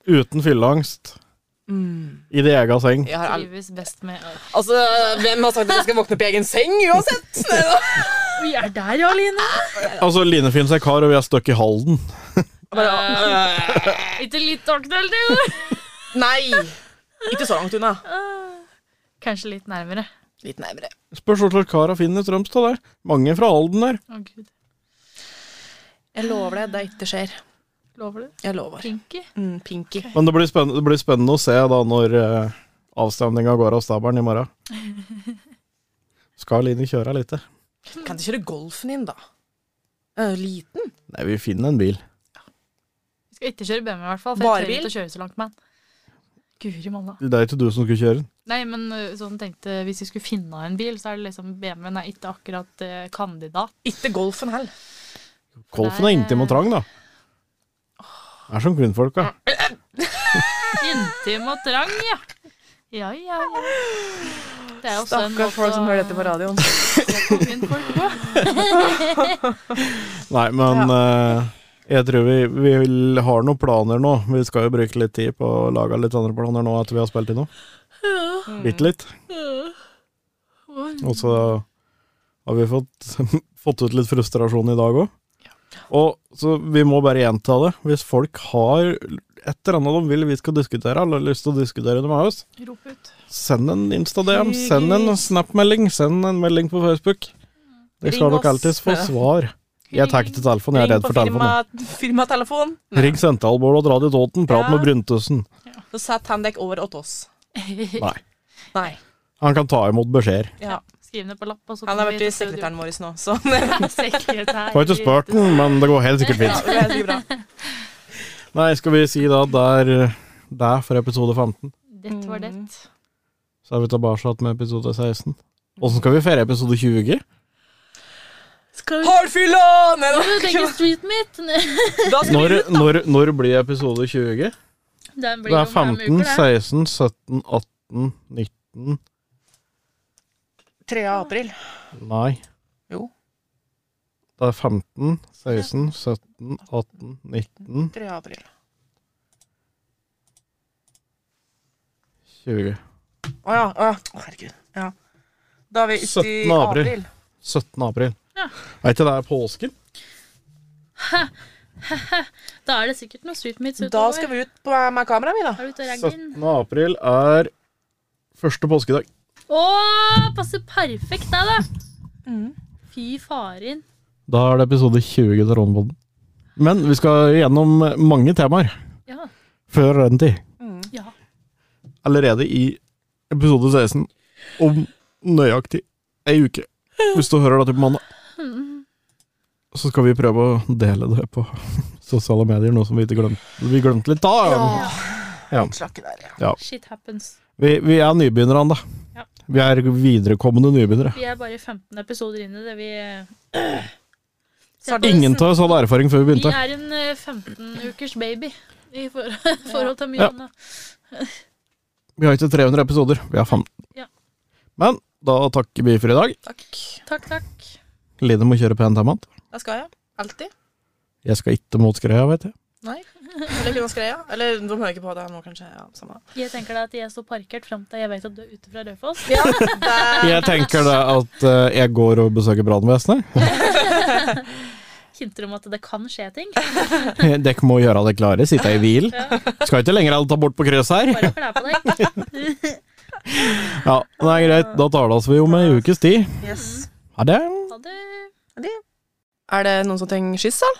Uten fylleangst.
Mm.
I din egen seng.
Jeg har all...
Trives best med
Altså, hvem har sagt at jeg skal våkne på egen seng uansett? Nei, da.
Vi er der, ja, Line!
Altså, Line finner seg kar, og vi er stuck i Halden.
Bare, øh,
Ikke litt aktuelt,
<laughs>
jo!
nei! Ikke så langt unna.
Kanskje litt nærmere.
Litt nærmere.
Spørs hva slags kar hun finner i Strømstad der. Mange fra Halden der.
Å, gud.
Jeg lover deg, det ikke skjer.
Lover du?
Jeg lover.
Pinky?
Mm, pinky.
Men det blir, spennende, det blir spennende å se da når eh, avstemninga går av stabelen i morgen.
<laughs>
Skal Line kjøre litt?
Kan du kjøre golfen din, da? Den er jo liten.
Nei, vi finner en bil.
Vi skal ikke kjøre BMW, i hvert fall. For jeg
Varebil?
tør ikke å kjøre så langt med den. Guri malla.
Det er ikke du som skulle kjøre den.
Nei, men øh, sånn tenkte hvis vi skulle finne en bil, så er det liksom BMW-en er ikke akkurat øh, kandidat.
Ikke golfen heller.
Kolfen er intim og trang, da. Det er som kvinnfolk, da.
Intim og trang, ja. Ja, ja, ja. Det er også en
Stakkars folk som hører dette på radioen.
på kvinnfolk på.
Nei, men eh, jeg tror vi, vi vil- har noen planer nå. Vi skal jo bruke litt tid på å lage litt andre planer nå etter vi har spilt inn nå. Bitte litt. Og så har vi fått, <laughs> fått ut litt frustrasjon i dag òg. Og så vi må bare gjenta det. Hvis folk har et eller annet de vil vi skal diskutere, eller har lyst til å diskutere det med oss,
<laughs> Rop ut.
send en Insta-DM, send en Snap-melding, send en melding på Facebook. Det skal
Ring
dere alltids få
oss.
svar. Jeg tar ikke telefonen, jeg er
Ring
redd
på
for telefonen.
firma- firmatelefon.
Ring sentralbordet og dra til Toten. Prat
Ja.
med Bryntussen.
Så satt han deg over åt oss.
Nei.
Nei.
Han kan ta imot beskjeder.
Ja.
Skriv ned på lapp. Og så
Han har
kommer
vært
vi
i
til studio.
sekretæren vår nå, så
<laughs>
<laughs>
Sekretær.
Får ikke spurt den, men det går helt sikkert
<laughs> ja,
fint.
det er sikkert bra.
Nei, skal vi si da der, der eh, for episode 15,
Det var det.
Mm.
så er vi tilbake med episode 16. Åssen skal vi feire episode 20?
Skal
Hardfylla! Nei <laughs> da.
vi tenke street <laughs> meet?
Da skal
Når,
vi
når, når blir episode 20?
Den blir
Det er
om fem
15,
uker, det.
16, 17, 18, 19
3. april.
Nei.
Jo.
Det er 15, 16, 17, 18, 19,
3. april.
20.
Å ja. Å, ja. Å, herregud. Ja. Da er vi ute i
17. april.
april.
17. april.
Ja.
Er ikke det påsken?
Da er det sikkert noen street meets utover.
Da skal vi ut på, eh, med kameraet, vi, da.
Er du ute og ragger inn?
17. april er første påskedag.
Å, passer perfekt deg, da.
Mm.
Fy faren.
Da er det episode 20 av Rånebåten. Men vi skal gjennom mange temaer
Ja.
før den tid.
ja.
Allerede i episode 16 om nøyaktig ei uke. Hvis du hører dette på mandag. Så skal vi prøve å dele det på <laughs> sosiale medier, noe som vi ikke glemte. Vi glemte litt da. Ja.
Slakke der, ja.
Shit happens.
Vi, vi er nybegynnerne, da.
Ja.
Vi er viderekommende nybegynnere.
Vi er bare 15 episoder inn i det. Vi,
Ingen av oss hadde erfaring før vi
vi
begynte.
er en eh, 15-ukers baby i for, <laughs> forhold til mye
Ja.
annet.
Vi har ikke 300 episoder, vi har 15.
Ja.
Men da takker vi for i dag.
Takk.
Takk, takk.
Line må kjøre pent hjem igjen.
Da skal jeg. Alltid.
Jeg skal ikke mot skreia, vet jeg.
Nei. Eller kun skreia. Eller de hører ikke på deg nå, kanskje. Ja, samme det.
Jeg tenker da at jeg står parkert fram til jeg vet at du er ute fra Raufoss.
Ja, der.
Jeg tenker det at eh, jeg går og besøker brannvesenet.
Hinter om at det kan skje ting.
<laughs> Dere må gjøre det klare, sitte i hvil. Skal ikke lenger alle ta bort på krysset her.
Bare kle på deg.
Ja, det er greit. Da tales vi om ei ukes tid.
Yes.
Ha det.
Ha det.
Er det noen som trenger skyss, da?